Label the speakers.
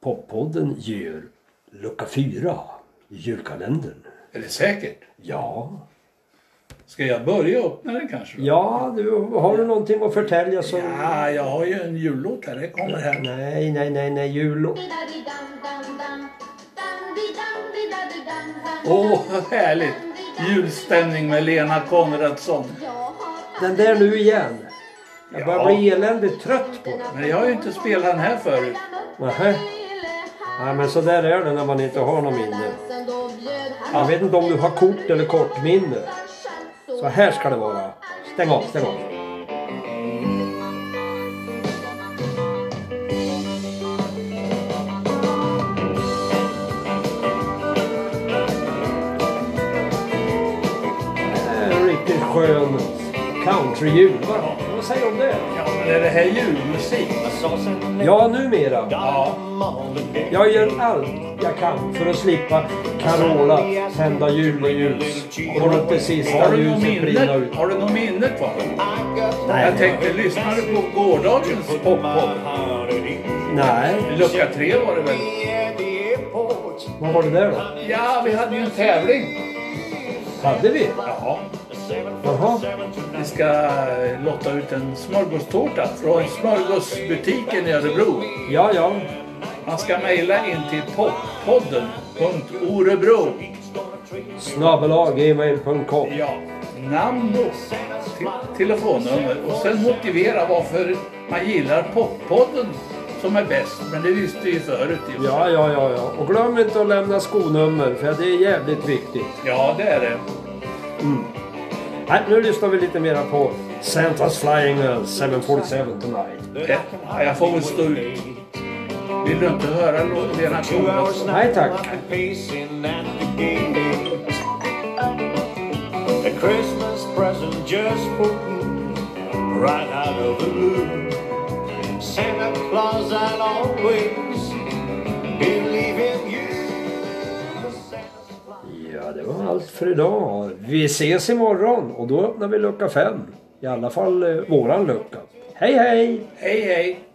Speaker 1: Poppodden ger lucka 4 i julkalendern.
Speaker 2: Är det säkert?
Speaker 1: Ja.
Speaker 2: Ska jag börja öppna den kanske? då?
Speaker 1: Ja, du, har du någonting att förtälja som...
Speaker 2: ja, jag har ju en jullåt här. Den kommer här.
Speaker 1: Nej, nej, nej, nej, jul...
Speaker 2: Åh, vad härligt! Julstämning med Lena Konradsson.
Speaker 1: Den där nu igen. Jag börjar
Speaker 2: Ja.
Speaker 1: bli eländigt trött på den.
Speaker 2: Men jag har ju inte spelat den här förut.
Speaker 1: Nähä. Nej, men så där är det när man inte har något minne. Jag
Speaker 3: Ja.
Speaker 1: vet inte om du har kort eller kortminne. Så här ska det vara. Stäng av, stäng av. Det är en Riktigt skön countryjul. Vad, vad säger du om det?
Speaker 2: Ja, men är det här julmusik?
Speaker 1: Ja, numera.
Speaker 2: Ja.
Speaker 1: Jag gör allt jag kan för att slippa Carola tända jul och ljus och låt det
Speaker 2: Har
Speaker 1: sista
Speaker 2: du något
Speaker 1: ljuset brinna
Speaker 2: minne?
Speaker 1: ut.
Speaker 2: Har du något minne kvar? Jag tänkte, lyssnade du på gårdagens popcorn?
Speaker 1: Nej,
Speaker 2: Lucka tre var det väl?
Speaker 1: vad var det där då?
Speaker 2: Ja, vi hade ju en tävling.
Speaker 1: Hade vi?
Speaker 2: Ja,
Speaker 1: Jaha.
Speaker 2: vi ska eh, lotta ut en smörgåstårta från smörgåsbutiken i Örebro.
Speaker 1: Ja, ja.
Speaker 2: Man ska mejla in till poppodden .orebro.
Speaker 1: Snabelag.gmail.com
Speaker 2: Ja, namn och te- telefonnummer och sen motivera varför man gillar poppodden som är bäst. Men det visste vi ju förut. ju.
Speaker 1: Ja, ja, ja, ja. Och glöm inte att lämna skonummer för det är jävligt viktigt.
Speaker 2: ja, det är det.
Speaker 1: Nej, nu lyssnar vi lite mera på Santa's Flying Earl 747 Tonight.
Speaker 2: Eh, Jag får väl stå ut. Vill du inte höra lo- Lena Kronlund?
Speaker 1: Nej tack.
Speaker 4: Pacing at the gate. A Christmas present just opened right out of the blue. Santa Claus, I'll always believe in you.
Speaker 1: Ja, det var allt för idag. Vi ses imorgon och då öppnar vi lucka 5. I alla fall eh, våran lucka. Hej, hej!
Speaker 2: Hej, hej!